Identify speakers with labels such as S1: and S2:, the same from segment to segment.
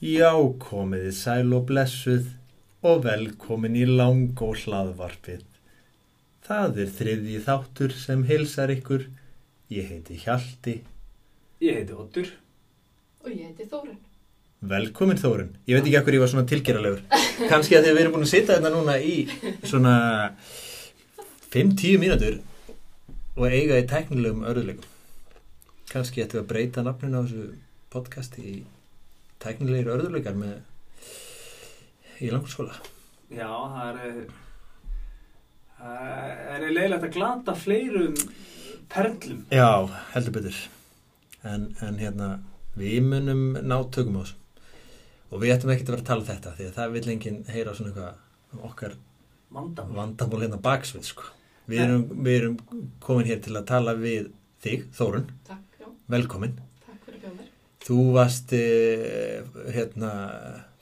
S1: Já, komiði sæl og blessuð og velkomin í lang og hlaðvarpið. Það er þriðji þáttur sem heilsar ykkur. Ég heiti Hjalti.
S2: Ég heiti Oddur.
S3: Og ég heiti Þórun.
S1: Velkomin Þórun. Ég veit ekki ekkur ég var svona tilgeralegur. Kanski að því að við erum búin að sitja þetta núna í svona 5-10 mínútur og eiga í teknilegum örðuleikum. Kanski ættum við að breyta nafninu á þessu podcasti í teknilegir örðuleikar með í langskóla.
S2: Já, það er, eh, það er leiðilegt að glata fleirum perlum.
S1: Já, heldur betur en, en hérna við munum ná tökum á þessu og við ættum ekkert að vera að tala um þetta því að það vil enginn heyra svona eitthvað um okkar
S2: Vandamál.
S1: vandamál hérna baksvið sko. við, erum, við erum komin hér til að tala við þig, Þórun,
S3: Takk, já,
S1: velkomin
S3: takk fyrir bjóðar.
S1: þú varst eh, hérna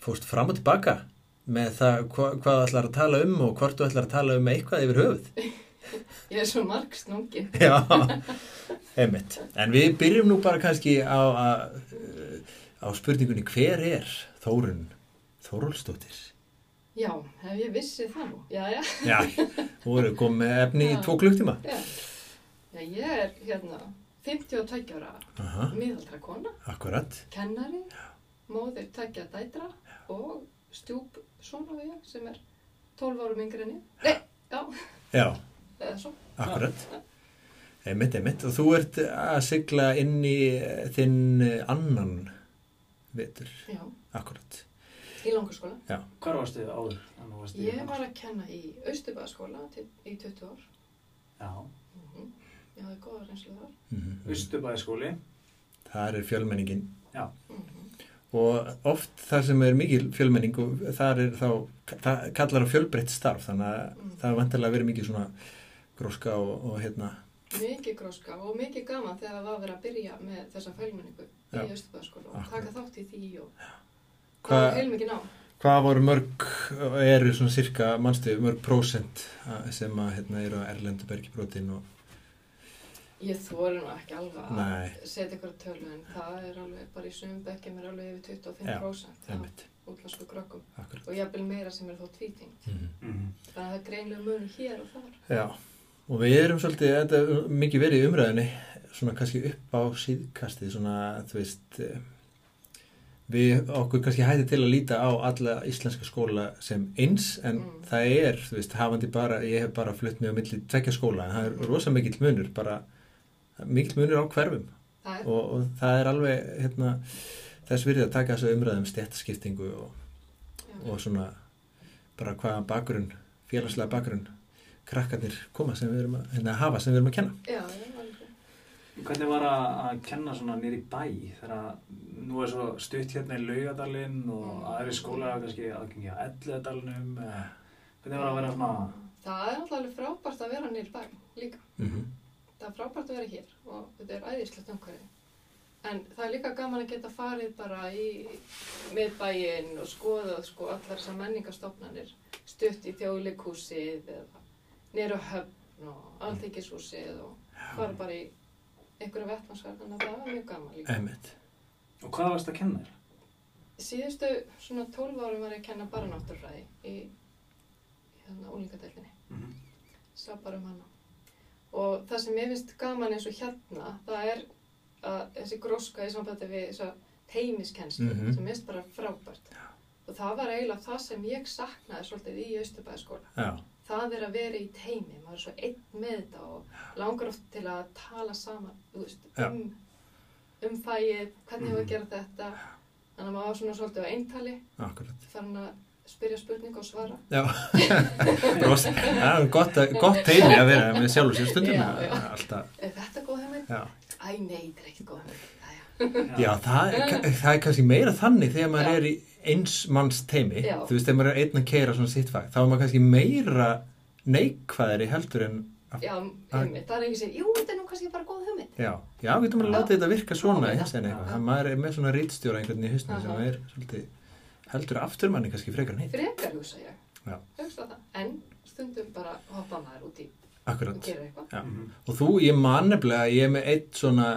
S1: fórst fram og tilbaka með það hva, hvað þú ætlar að tala um og hvort þú ætlar að tala um eitthvað yfir höfuð
S3: Ég er svo marg snungin.
S1: Já, einmitt. En við byrjum nú bara kannski á, á, á spurningunni hver er Þórun Þórólsdóttir?
S3: Já, hef ég vissið það nú? Já, já,
S1: Já, þú eru komið með efni í tvo klukktíma.
S3: já. Já, ég er hérna 52 ára
S1: Aha,
S3: miðaldra kona,
S1: akkurat.
S3: kennari, móðir tækja dætra og stjúp svona við ég sem er 12 árum yngri en ég. Nei, já,
S1: Já,
S3: eða svo.
S1: akkurat. Einmitt, einmitt. Og þú ert að sigla inn í þinn annan vetur.
S3: Já,
S1: Akkurat.
S3: í langarskóla.
S2: Hvar varstu áður? Þannig varstu í-
S3: Ég var að kenna í Austurbæðaskóla til, í 20 ár.
S2: Já,
S3: Mm Ég hafði góða reynslu þar.
S1: Mhm.
S2: Östubæðiskóli.
S1: Þar er fjölmenningin
S2: Já,
S3: Mm
S1: og oft þar sem er mikil fjölmenning og þar er þá það kallar á fjölbreytt starf þannig að
S3: Mm.
S1: það er vantilega verið mikið svona gróska og, og hérna
S3: Mikið gróska og mikið gaman þegar það var verið að byrja með þessa fjölmenningu
S1: Já.
S3: í Östubæðaskóla og
S1: Akkurat.
S3: taka þátt í því og það var
S1: hvað
S3: heilmikið ná.
S1: hva voru mörg eru svona cirka, manstu, mörg prósent að- sem að hérna eru á Erlendu bergibrotin og
S3: Ég þóri nú ekki alveg að
S1: Nei.
S3: setja ykkur tölu en það er alveg bara í sumum bekkjum er alveg yfir 25% af
S1: einmitt,
S3: útlansku krökkum
S1: akkurat
S3: og jafnvel meira sem er þó tvíting.
S1: mm.
S2: mhm.
S3: Þannig að það er greinlega mun hér og þar.
S1: já, og við erum svolítið þetta er mikið verið í umræðinni svona kannski upp á síðkastið svona, þú veist eh, við okkur kannski hætti til að líta á alla íslenska skóla sem eins en
S3: Mm.
S1: það er, þú veist, hafandi bara ég hef bara flutt mig á milli tvekja skóla en það er rosa mikill munur bara mikill munur á hverfum
S3: Það er,
S1: og, og það er alveg hérna, þess virði að taka þessu umræðum stjættaskiptingu og,
S3: já,
S1: og svona bara hvaða bakgrunn, félagslega bakgrunn krakkarnir koma sem við erum að hérna, hafa sem við erum að kenna
S3: já, já, alveg.
S2: Hvernig var að, að kenna svona nýri bæ þegar að nú er svo stutt hérna í Laugadalinn
S3: Mm.
S2: og aðri skólar hafa kannski aðgengi á Elliðadalnum eða hvernig var að vera svona
S3: Það er alltaf alveg frábært að vera nýr bæ líka.
S1: mm
S3: það er frábært að vera hér og þetta er æðislegt umhverfi. En það er líka gaman að geta farið bara í miðbæinn og skoðað sko allar þessar menningastofnanir stutt í þjóðleikúsið eða nýru höfn og alþykishúsið og fara bara í einhverja vettvansverð þannig að það var mjög gaman líka.
S1: Einmitt.
S2: og hvað varst að kenna þér?
S3: Síðustu svona 12 árum var ég að kenna bara náttúrfræði í hérna úlingadeildinni.
S2: Mhm.
S3: sá bara um hana. Og það sem ég finnst gaman eins og hérna, það er að þessi gróska í sambandi við þessa heimiskennslu
S1: Mhm.
S3: sem minnst bara frábært. Og það var eiginlega það sem ég saknaði svolítið í Austurbæðaskóla.
S1: Já,
S3: Það er að vera í teimi, maður er svo einn með þetta og langar oft til að tala saman, þú veist,
S1: Já.
S3: um, um fæið, hvernig hefur
S2: Mhm.
S3: að gera þetta. Þannig að maður var svona svolítið á eintali,
S1: akkurat.
S3: farin að spyrja spurninga og svara.
S1: Já, Rost, það er gott, gott teimi að vera með sjálfur sér stundum.
S3: Já, já.
S1: Alltaf,
S3: Er þetta góð hemmið?
S1: já.
S3: Æ, nei, þetta er ekkert góð hemmið. Æja.
S1: já það, er, það er kannski meira þannig þegar maður
S3: Já.
S1: er í eins manns teimi.
S3: Já.
S1: Þú veist, þegar maður er einn að keira svona sitt fag, þá er maður kannski meira neikvæðari heldur en...
S3: Já, einmitt, það er ekki sem, jú, þetta er nú kannski bara góð hugmynd.
S1: Já, já, við getum að láta þetta virka svona
S3: Já.
S1: eins en eitthvað. Það maður er með svona rítstjóra einhvern veginn í hausnum sem
S3: Aha.
S1: er svolítið heldur aftur manni kannski frekar neitt.
S3: Frekar hugsa ég,
S1: Já.
S3: hugsa það. En stundum bara hoppa maður út í og
S1: Akkurat.
S3: gera eitthvað.
S1: Já.
S2: Mhm.
S1: Og þú, ég man nefnilega, ég er með eitt svona,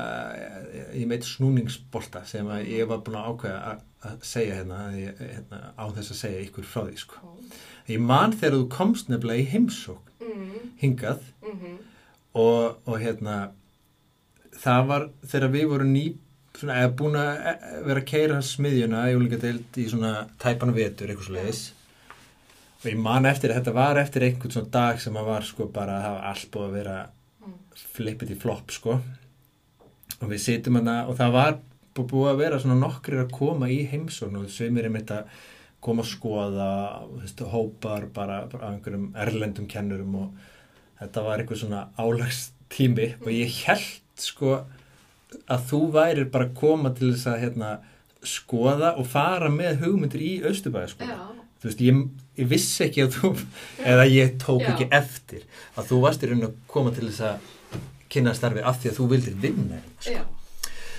S1: ég er með eitt snúningsbolta sem að ég var búin að ákveða að að segja hérna, að ég, hérna á þess að segja ykkur frá því sko.
S3: Ó.
S1: Ég man þegar þú komst nefnilega í heimsókn
S3: Mm,
S1: hingað
S3: mhm,
S1: og, og hérna það var þegar við vorum ný svona, eða búin að e- vera að keira smiðjuna í úlingadeild í svona tæpan vetur eitthvað svo leiðis og ég man eftir að þetta var eftir einhvern svona dag sem að var sko bara að hafa allt búið að vera
S3: Mm.
S1: flippið í flopp sko og við situm hana og það var bú- búið að vera svona nokkrir að koma í heimsókn og sumir er mitt að koma að skoða þú veist, hópar bara af einhverjum erlendum kennurum og þetta var eitthvað svona álagstími og
S3: Mm.
S1: ég held sko að þú værir bara að koma til þess að hérna, skoða og fara með hugmyndir í Östubæði sko.
S3: já,
S1: þú veist, ég, ég vissi ekki að þú eða ég tók
S3: Já.
S1: ekki eftir að þú varst í raun að koma til þess að kynna starfi af því að þú vildir vinna sko
S3: já,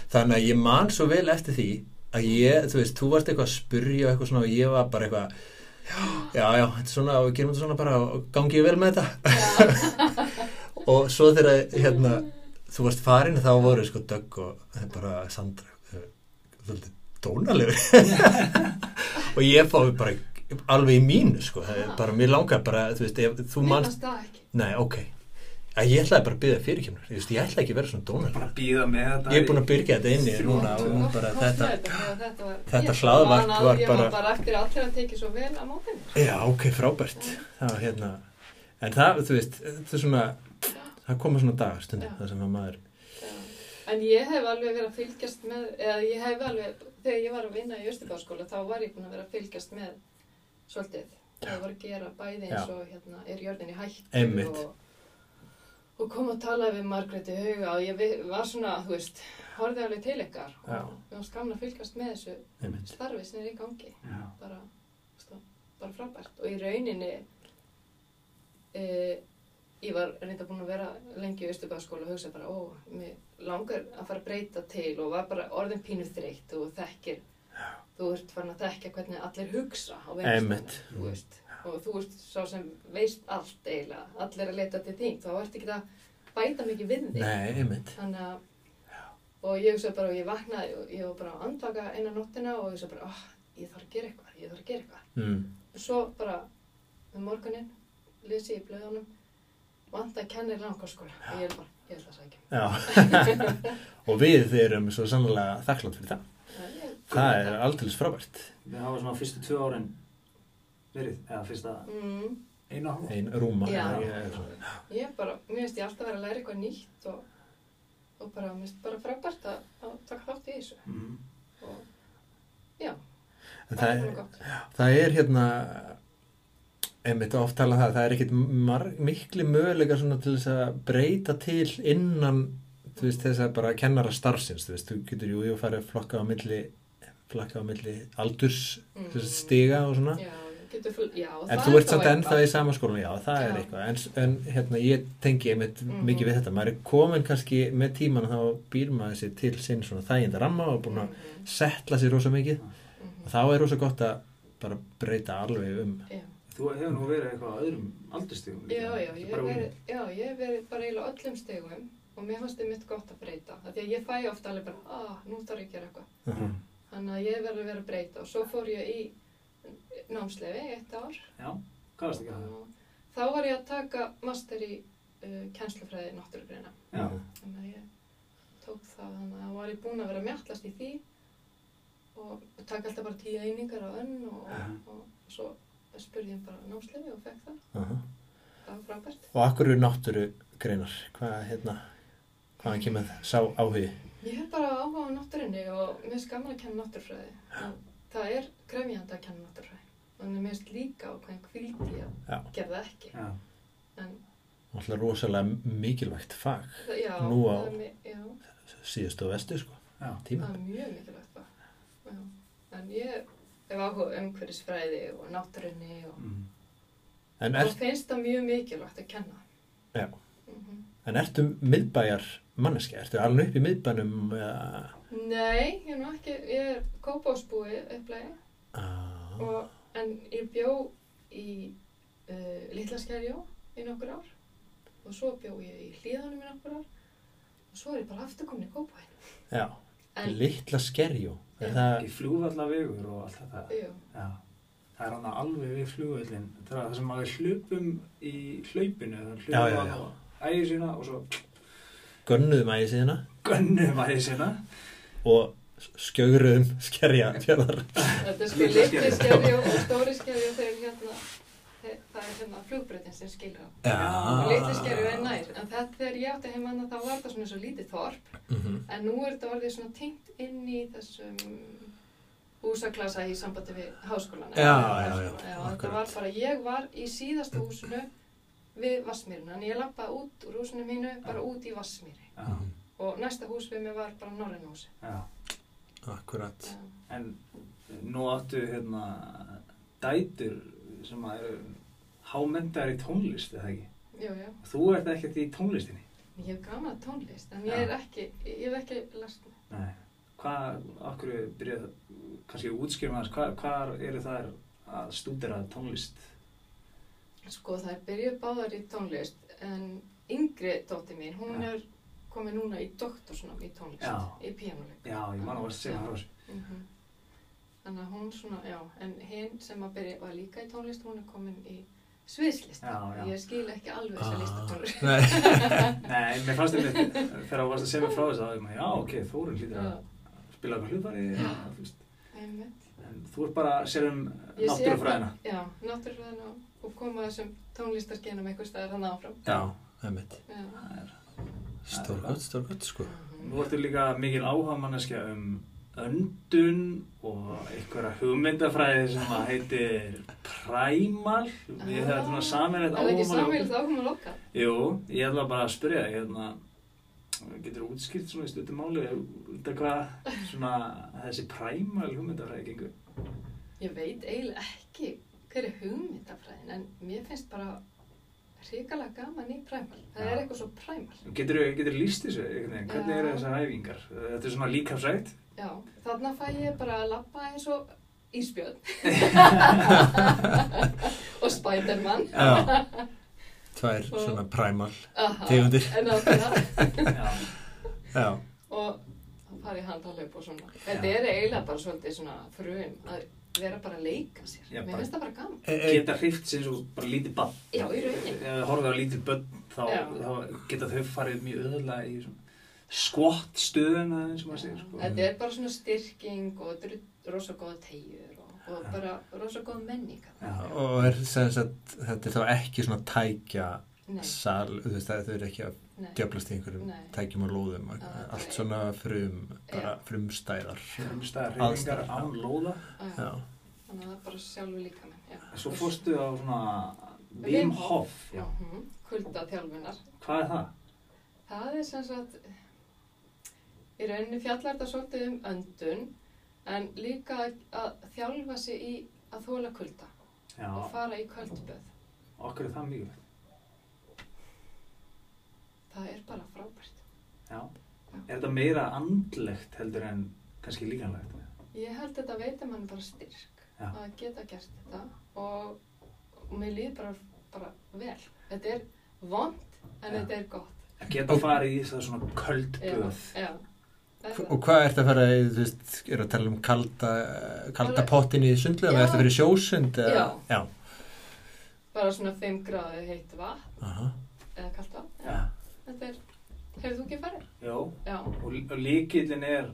S1: þannig að ég man svo vel eftir því að ég, þú veist, þú varst eitthvað að spurja og eitthvað svona og ég var bara eitthvað já, já, þetta er svona, við gerum þetta svona bara og gangi ég vel með þetta og svo þegar, hérna þú varst farin þá voru sko Dögg og bara Sandra eh, svolítið dónalegur og ég fóði bara alveg í mínu, sko, það er bara mér langar bara, þú veist, ef, þú
S3: mér
S1: manst
S3: fannst það ekki.
S1: nei, ok, að ég ætlaði bara að byggja fyrirkemur, þú veist, ég ætlaði ekki að vera svona dónalegur
S2: Bara býða með þetta.
S1: Ég er búin að byrja þetta inni núna og hún
S3: Þú
S1: bara
S3: komst
S1: þetta
S3: með þetta, þetta, var-
S1: þetta
S3: ég-
S1: hlaðvarp
S3: man að
S1: var
S3: Ég
S1: bara-
S3: var bara eftir að allir að tekið svo vel á mótinu.
S1: Já, ok, frábært Það var hérna En það, þú veist, þetta er svona það koma svona dagar stundum
S3: Já.
S1: það sem að maður
S3: Já. En ég hef alveg verið að fylgjast með, eða ég hef alveg, þegar ég var að vinna í Östubáskóla, þá var ég búin að vera að fylgjast með svolítið. Það var að gera bæði eins
S1: Já.
S3: og hérna, er jörðin í hættu
S1: Einmitt.
S3: og, og kom að tala við Margréti Hauga og ég vi- var svona, þú veist, horfði alveg til ykkar og
S1: Já.
S3: mér var skamna að fylgjast með þessu
S1: einmitt.
S3: starfi sem er í gangi.
S2: Já.
S3: Bara, þú veist, bara frábært. Og í rauninni, e, ég var reynda búin að vera lengi í Östubæðaskóla og hugsa bara, ó, mig langar að fara að breyta til og var bara orðin pínu þreytt og þekkir, þú ert farin að þekka hvernig allir hugsa á
S1: Einmitt.
S3: vinnustaðnum, þú veist. Og þú ert sá sem veist allt eiginlega, allir að leita til þín, þá ert ekki að bæta mikið við þig.
S1: Nei, einmitt
S3: Þannig að, og ég hugsaði bara, og ég vaknaði og ég var bara að andvaka eina nóttina og ég hugsaði bara, oh, ég þarf að gera eitthvað, ég þarf að gera eitthvað.
S1: mm.
S3: Og svo bara, um morguninn, lesi ég í blöðunum, vant að kennir langarskóla og ég er bara, ég ætla að sækja.
S1: Já Og við erum svo sannlega þakklátt fyrir það
S3: Þannig að ég-
S1: Það er aldrei frábært
S2: Við hafa svona fyrstu tvö árin verið, eða fyrsta
S3: Mm,
S2: einu ára.
S1: Ein rúma
S3: Já.
S1: Ég er svona-
S3: ég er bara, mér finnst ég alltaf vera að læra eitthvað nýtt og, og bara, mér finnst bara frábært að, að taka þátt í þessu.
S2: Mm.
S3: Og, já,
S1: En
S3: það er
S1: það,
S3: bara gott.
S1: það er hérna einmitt oft tala það, það er ekkit marg, mikli möguleika svona til þess að breyta til innan þú veist þess að bara kennara starfsins þú veist, þú getur jú, jú farið að flokka á milli flokka á milli aldurs
S3: Mm.
S1: mm. stiga og svona
S3: Já, getur full, já.
S1: en
S3: það
S1: þú
S3: er
S1: ert
S3: þá
S1: samt ennþá
S3: eitthvað.
S1: í sama skólanum, já, það er
S3: Já.
S1: eitthvað en, en hérna, ég tengi einmitt
S3: Mhm.
S1: mikið við þetta maður er komin kannski með tíman þá býr maður sér til sinn svona þæginda ramma og búin að
S3: Mhm,
S1: setla sér rosa mikið
S3: mhm.
S1: og þá er rosa gott að bara breyta alveg um
S3: Já.
S2: Þú hefur nú verið eitthvað á öðrum aldurstíðum
S3: Já, já, ég hef verið, já, ég hef verið bara eiginlega á öllum stegum og mér fannst þið mitt gott að breyta. Það því að ég fæ ofta alveg bara, ah, nú þarf ég að gera eitthvað.
S1: Mhm.
S3: Þannig að ég verði að vera að breyta og svo fór ég í námslefi í eitt ár
S2: Já, hvað varst ekki að það?
S3: og þá var ég að taka master í uh, kennslufræði náttúrugreina.
S2: Já,
S3: Þannig að ég tók það, þannig að var ég búin að vera að mjallast í því og taka alltaf bara tíu einingar á önn og, og, og, svo spurði ég um bara námslefi og fekk það.
S1: Aha.
S3: Það var frábært.
S1: Og akkur eru náttúru greinar? Hvað, hérna, hvaðan kemur það? sá áhugi?
S3: Ég hef bara áhuga á náttúrinni og mér finnst gaman að kenna náttúrfræði. En það er krefjandi að kenna náttúrfræði. Þannig mér finnst líka á hvaðin kvíldi ég
S1: Já.
S3: að gera það ekki.
S2: já.
S3: En
S1: Alltaf rosalega mikilvægt fag
S3: það, já,
S1: Nú á-
S3: það, er, mi- já,
S1: síðust og vestu, sko,
S2: Já,
S1: tíma.
S3: það er mjög mikilvægt það. Já. En ég hef áhuga á umhverfisfræði og náttúrinni og,
S2: mm.
S1: En, er,
S3: og finnst það mjög mikilvægt að kenna.
S1: Já.
S3: Mm
S1: en ertu miðbæjar manneski? Ertu alveg upp í miðbænum? eða?
S3: Nei, ég er nú ekki, ég er kópásbúi upplæði.
S1: Á,
S3: og, en ég bjó í uh, Littlaskerjó í nokkur ár og svo bjó ég í Hlíðanum í nokkur ár og svo er ég bara aftur komin í Kópahæn
S1: Já,
S3: en
S1: litla skerjó. Er það,
S2: Ekki flugvallavegur og allt þetta.
S3: Jú,
S2: Já, það er hann alveg við flugvöllin. Það er það sem maður hlupum í hlaupinu, það
S1: Já,
S2: hlupum
S1: já,
S2: að
S1: já.
S2: ægir sína og svo
S1: gönnuðum ægir síðana
S2: gönnum ægir sína.
S1: og skjögruðum skerja fjarðar.
S3: þetta er sko
S2: Litla
S3: litli skerði og stóri skerði og þeir hérna, þeir, það er hérna flugbreytin sem skilur á.
S2: Ah.
S3: Og litli skerði er nær, en þetta þegar ég átti heim annað þá var það svona svo lítið þorp,
S1: Mhm.
S3: en nú er þetta orðið svona tengt inn í þessum húsaklasa í sambandi við háskólan.
S1: Já, já, já,
S3: þetta
S1: akkurat.
S3: var bara, ég var í síðasta húsinu við Vassmýruna, en ég lappaði út úr húsinu mínu, bara út í Vassmýri.
S2: Já,
S1: Mhm.
S3: Og næsta hús við mig var bara Norrænhúsi.
S2: já.
S1: Akkurat.
S2: En nú áttu hérna dætur sem að eru hámendar í tónlist, eða ekki?
S3: Jú, jú.
S2: Þú ert ekkert í tónlistinni.
S3: Ég hef gaman að tónlist, en ég er
S2: Já.
S3: ekki, ég hef ekki lært mig.
S2: Nei. Hvað, okkur byrjað, kannski útskýrum aðeins, hvað, hvað eru þær að stúdera tónlist?
S3: Sko, það er byrjuð báðar í tónlist, en yngri dótti mín, hún
S2: Já.
S3: er komið núna í doktorsnám í tónlist,
S2: Já.
S3: í píanuleik.
S2: Já, ég man að varst að segja frá þessu.
S3: Mm Þannig að hún svona, já, en hinn sem að byrja var líka í tónlist, hún er komin í sviðslist.
S2: Já, já.
S3: Ég skil ekki alveg þessa ah. listatónlist.
S1: Nei.
S2: Nei, mér fannst það mitt, þegar þú varst að segja mér frá þessu, þá er maður, já, ok, Þórun hlýtur
S3: Já,
S2: að spila eitthvað hlutari, eða, þú veist.
S3: einmitt.
S2: En þú ert bara að segja um
S3: Ég sé
S2: náttúrufræðina.
S3: það- Já, náttúrufræðina og- og koma þessum tónlistargenum einhver staðar þannig áfram.
S1: Já, einmitt.
S3: Já.
S2: Það er-
S1: Stórgótt, stórgótt sko.
S2: Nú ertu líka mikil áhagamanneskja um öndun og einhverja hugmyndafræði sem að heitir præmal. Við höfum svona saminleitt
S3: Ah. Er það ekki samvélið
S2: áhagamanneskja.
S3: áhugamál okkar?
S2: Jú, ég ætla bara að spyrja þig, hérna, getur þú útskýrt svona í stuttum máli, út af hvað svona þessi præmal hugmyndafræði gengur?
S3: Ég veit eiginlega ekki hver er hugmyndafræðin en mér finnst bara hrikalega gaman í præmal. Það
S2: Já.
S3: er eitthvað svo præmal.
S2: Getur þú líst þessu einhvern veginn? Hvernig eru
S3: Já.
S2: þessar æfingar? Þetta er svona líkafsrætt?
S3: Já, þarna fæ ég bara að lappa eins og ísbjörn og Spiderman.
S1: Já. Tvær svona primal
S3: Aha,
S1: Tegundir.
S3: En á það.
S2: Já.
S1: Já,
S3: Og það fari í handalöp og svona. Þetta er eiginlega bara svolítið svona frum að vera bara að leika sér.
S2: Já,
S3: mér
S2: bara-
S3: finnst það bara gaman.
S1: e, e,
S2: Geta hrift sér svo bara lítið bann.
S3: Já, í rauninni.
S2: Ef við horfum á lítið börn þá,
S3: Já.
S2: þá geta þau farið mjög öðurlega í svona skvott stöðuna eins og maður segir sko.
S3: Þetta er bara svona styrking og drull, rosa góða tegjur og, og bara rosa góða menninga.
S2: Já.
S1: og er sem sagt, þetta er þá ekki svona tækja
S3: Nei,
S1: sal, þú veist að þau eru ekki að
S3: nei.
S1: djöflast í einhverjum
S3: Nei.
S1: tækjum og lóðum og
S3: Ah,
S1: allt
S3: nei.
S1: svona frum, bara frumstæðar.
S2: Frumstæðar
S1: Aðstæður,
S2: hreyfingar
S1: já.
S2: án lóða.
S3: Já,
S1: Já,
S3: þannig að það er bara sjálfur líka með. Já.
S2: Svo fórstu á svona Wim Hof. Já.
S3: Mhm, Kuldatjálfunar.
S2: Hvað er það?
S3: Það er sem sagt, í rauninni fjallar þetta svolítið um öndun, en líka að þjálfa sig í að þóla kulda
S2: Já,
S3: og fara í kuldböð.
S2: okkur er það mikilvægt.
S3: Það er bara frábært.
S2: Já. Er þetta meira andlegt heldur en kannski líkanlegt?
S3: Ég held þetta veitir mann bara styrk
S2: Já.
S3: að geta gert þetta og, og mér líður bara, bara vel. Þetta er vond, en
S2: Já.
S3: þetta er gott.
S2: Að geta farið í það svona köldböð.
S3: Já. Það er það.
S1: og hvað ertu að fara, í, þú veist, eru að tala um kalda, kalda
S3: Alveg.
S1: pottin í sundlu eða
S3: Já.
S1: ertu að fyrir sjósund? eða-
S3: Já.
S1: Já,
S3: bara svona 5 gráðu heitt vatn
S1: aha,
S3: eða kallt vatn
S2: Já.
S3: þetta er, hefur þú ekki farið?
S2: Jó.
S3: Já,
S2: og, og líkillin er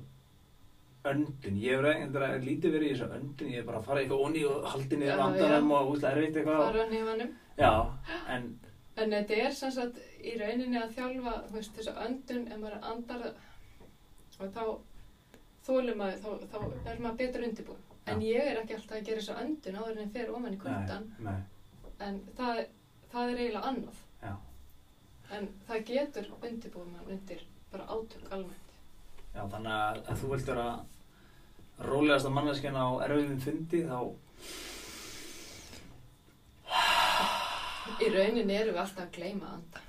S2: öndun, ég hef reyndar lítið verið í þessu öndun, ég hef bara farið eitthvað onni og haldið niður
S3: Já,
S2: andanum
S3: já.
S2: og útla erfitt eitthvað
S3: fara á nýmanum
S2: já, en
S3: en þetta er sem sagt í rauninni að þjálfa þú veist, þessu öndun ef maður andar og þá þólum maður, þá, þá er maður betur undirbúin en ég er ekki alltaf að gera þessu öndun áður en ég fer ofan í kuldan
S2: nei, nei,
S3: en það, það er eiginlega annað
S2: já,
S3: en það getur undirbúin mann undir bara átök almennt
S2: já, þannig að, að þú vildur að rólegast að manneskina á erfiðum fundi þá
S3: í rauninni erum við alltaf að gleyma að anda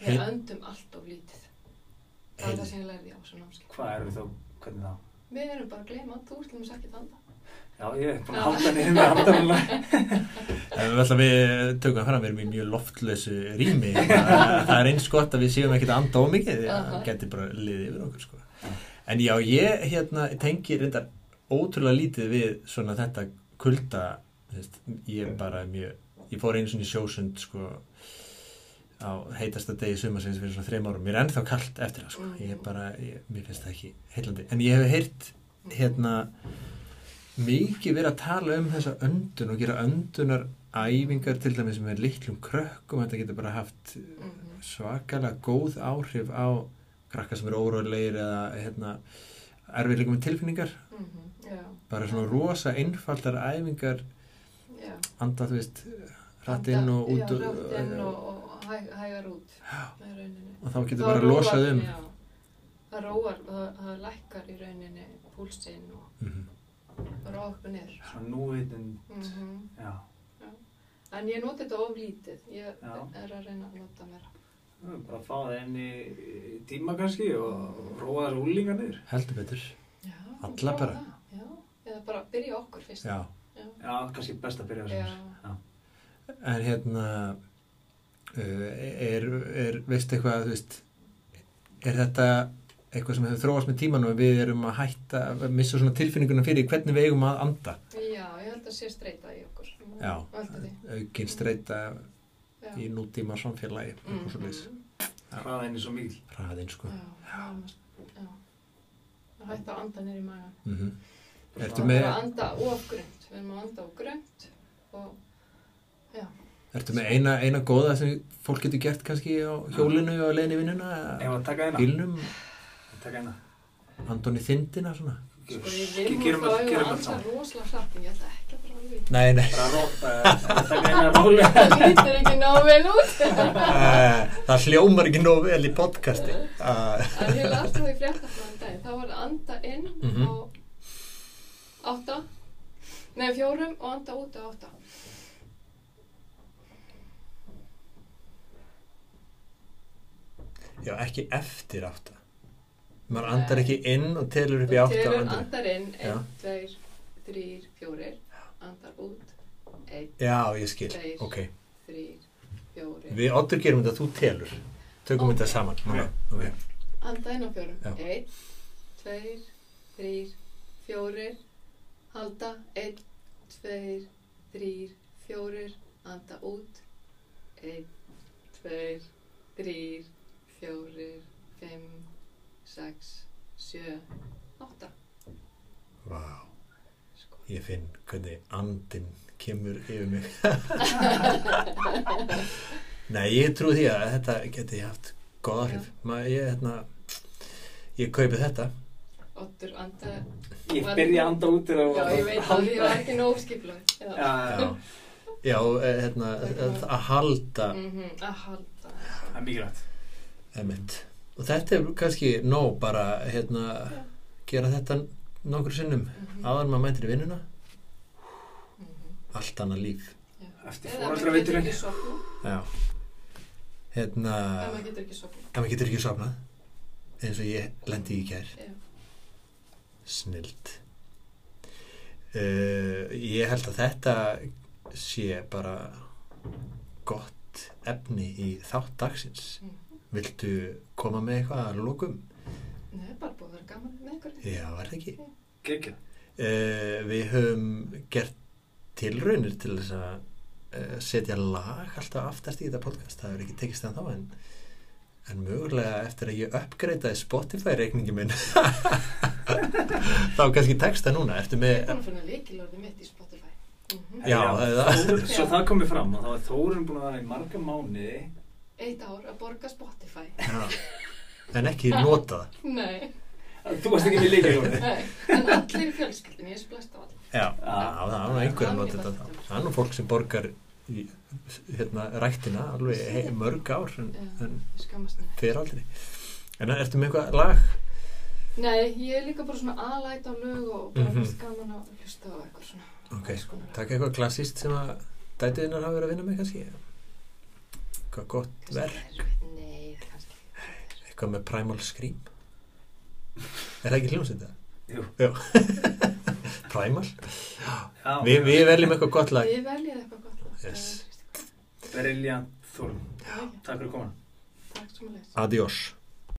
S3: við
S1: Heil-
S3: öndum allt of lítið það
S1: Heil-
S3: er það sem ég lærði á þessu námskeið
S2: hvað erum við þá, hvernig þá?
S3: Við erum bara að gleyma að þú ert um þess ekki þanda.
S2: Já, ég hef búin að halda niður með andanum
S1: En við ætlum að við tökum fram, við erum í mjög loftlösu rými, það það er eins gott að við séum ekkert að anda of mikið, því að
S3: Aha.
S1: það getur bara liðið yfir okkur sko. En já, ég hérna tengi reyndar ótrúlega lítið við svona þetta kulda þú veist, ég bara er mjög ég fór einu svona í sjósund sko, á heitasta degi sumarsins fyrir svona þreim árum, mér er ennþá kalt eftir það sko. ég er bara, ég, mér finnst það ekki heillandi, en ég hef heyrt hérna mikið verið að tala um þessa öndun og gera öndunar æfingar til dæmis með litlum krökkum, þetta getur bara haft Mm-hmm.
S3: Mhm.
S1: svakalega góð áhrif á krakka sem eru órólegir eða hérna, erfiðleikum með tilfinningar
S3: Mhm. Já,
S1: bara svona rosa einfaldar æfingar
S3: já.
S1: anda þú veist hratt inn og
S3: Anda-
S1: út
S3: já,
S1: og,
S3: hratt inn og, og hæ, hægar út með rauninni
S1: og þá getur
S3: Það
S1: bara
S3: róar-
S1: losað um
S3: já. það róar, það, það lækkar í rauninni púlsinn og
S1: Mhm.
S3: róa okkur niður
S2: Svona núvitund,
S3: mm
S2: já.
S3: en ég noti þetta of lítið ég
S2: Já.
S3: er að reyna að nota mér
S2: Það er Bara að fá það inn í í tíma kannski og róa þessu úlinga niður.
S1: heldur betur Alla bara.
S3: já. eða bara byrja okkur fyrst
S1: já.
S3: Já.
S2: Já, kannski best að byrja
S3: Já.
S2: þessu. Já.
S1: en hérna uh, er, er veist eitthvað þú veist, er þetta eitthvað sem hefur þróast með tímanum að við erum að hætta að missa svona tilfinninguna fyrir því hvernig við eigum að anda
S3: já, ég held að sé streyta í okkur
S1: Já.
S3: valdi því
S1: aukin streyta
S3: já.
S1: í nútíma samfélagi mm
S3: Mhm.
S1: -hmm.
S2: Hraða henni svo mikil.
S1: hraðin sko
S3: já, nánast, já. Að hætta að anda niður í maga
S1: mm Ertu
S3: Við
S1: með-
S3: erum að anda of grönt, við erum að anda of grönt og
S1: Ertu með eina, eina góða sem fólk getur gert kannski á hjólinu og leiðinni í vinnuna
S2: Ef
S1: eða
S2: að taka hérna.
S1: bílnum,
S2: Taka hérna.
S1: Antoni Þindina svona?
S3: sko ég
S2: Ge-
S3: vinnum
S2: Gerum
S3: þá
S2: þetta,
S3: hefur
S2: gerum
S3: að
S2: þetta
S3: anda
S2: saman.
S3: rosalega hratt en ég ætla ekki að fara að líta.
S1: Nei, nei.
S2: Bara ró, eh, taka hérna rólega.
S3: Það lítur ekki ná vel út.
S1: Eh, það hljómar ekki nóg vel í podcasti. Eh,
S3: En ég las það í fréttafræðan dag, þá var að anda inn
S1: Mhm.
S3: á átta, nei fjórum og anda út á átta.
S1: já, ekki eftir átta. Maður
S3: Nei.
S1: andar ekki inn og telur upp í átta og
S3: telur
S1: andar.
S3: andar inn,
S1: Já.
S3: einn, tveir, þrýr, fjórir, andar út, einn,
S1: Já, ég skil.
S3: Tveir.
S1: Ok,
S3: þrýr, fjórir.
S1: við oddur gerum þetta, þú telur. Tökum
S3: Ok.
S1: þetta saman.
S2: Ok.
S1: Okay.
S3: Anda inn á fjórum.
S1: Já.
S3: Einn, tveir, þrýr, fjórir. Halda. Einn, tveir, þrýr, fjórir. Anda út. Einn, tveir, þrýr, fjórir, fimm, sex, sjö, átta.
S1: Vá,
S3: Sko.
S1: ég finn hvernig andin kemur yfir mig. Nei, ég trú því að þetta geti haft góð áhrif. Ma, ég, hérna, ég kaupi þetta.
S3: Ottur, anda.
S2: Ég byrja að anda út þegar
S3: Já, ég veit að því var ekki nóg skiplag. Já.
S2: Já,
S1: Já, já eh, hérna, að að halda
S3: Mm Að halda.
S2: það er mikilvægt.
S1: emitt. Og þetta er kannski nóg bara hérna,
S3: Já.
S1: gera þetta nokkur sinnum.
S3: Mhm.
S1: Áður en maður mætir í vinnuna,
S3: Mhm.
S1: allt annað líf.
S2: Eftir
S3: Eða maður getur
S2: fóröldraviturinn.
S3: ekki sofna.
S1: Já. Hérna,
S3: Eða maður getur ekki sofna.
S1: ef maður getur ekki sofnað, eins og ég lendi í kær.
S3: Já.
S1: Snild. Uh, ég held að þetta sé bara gott efni í þátt dagsins.
S3: Mhm.
S1: Viltu koma með eitthvað að lokum?
S3: Nei, bara búið að vera gaman með ykkur.
S1: Já, var það ekki.
S2: Gekja.
S1: Uh, við höfum gert tilraunir til þess að uh, setja lag alltaf aftast í þetta podcast. Það hefur ekki tekist þann þá en, en mögulega eftir að ég uppgreitaði Spotify reikningi minn þá kannski tekst það núna. Ertu
S3: Ég er
S1: með...
S3: búin að finna leikilorði mitt í Spotify. Mhm.
S1: Já, það er það.
S2: Svo það komið fram að þá er Þórun búin að vera í marga mánuði
S3: Eitt ár að borga Spotify.
S1: Já. En ekki nota það.
S3: Nei,
S2: Þú varst ekki með leikilorðið.
S3: nei. En allir í fjölskyldin, ég er splest á allir.
S1: Já, Já það er nú einhverjum nota þetta. þá. Það er nú fólk sem borgar í, hérna, ræktina alveg he, mörg ár en,
S3: Já.
S1: en
S3: Ég skammast mér.
S1: fer aldrei. En ertu með eitthvað lag?
S3: Nei, ég er líka bara svona aðlæt á lög og bara
S1: Mhm.
S3: finnst gaman að hlusta á eitthvað svona.
S1: Ok,
S3: alls konar.
S1: taka eitthvað klassist sem að dætiðinnar hafa verið að vinna með kannski. Eitthvað gott
S3: Kannski
S1: verð,
S3: erfitt. Nei, kannski.
S1: eitthvað með Primal Scream. Er það ekki hljómsið það?
S2: Jú.
S1: Primal?
S2: Já,
S1: Við vi veljum eitthvað gott lag.
S3: Við veljið eitthvað gott. lag.
S1: Yes.
S2: Briljant Þórun.
S3: Það er-
S2: Takk fyrir að koma.
S3: Takk svo mjög.
S1: Adiós.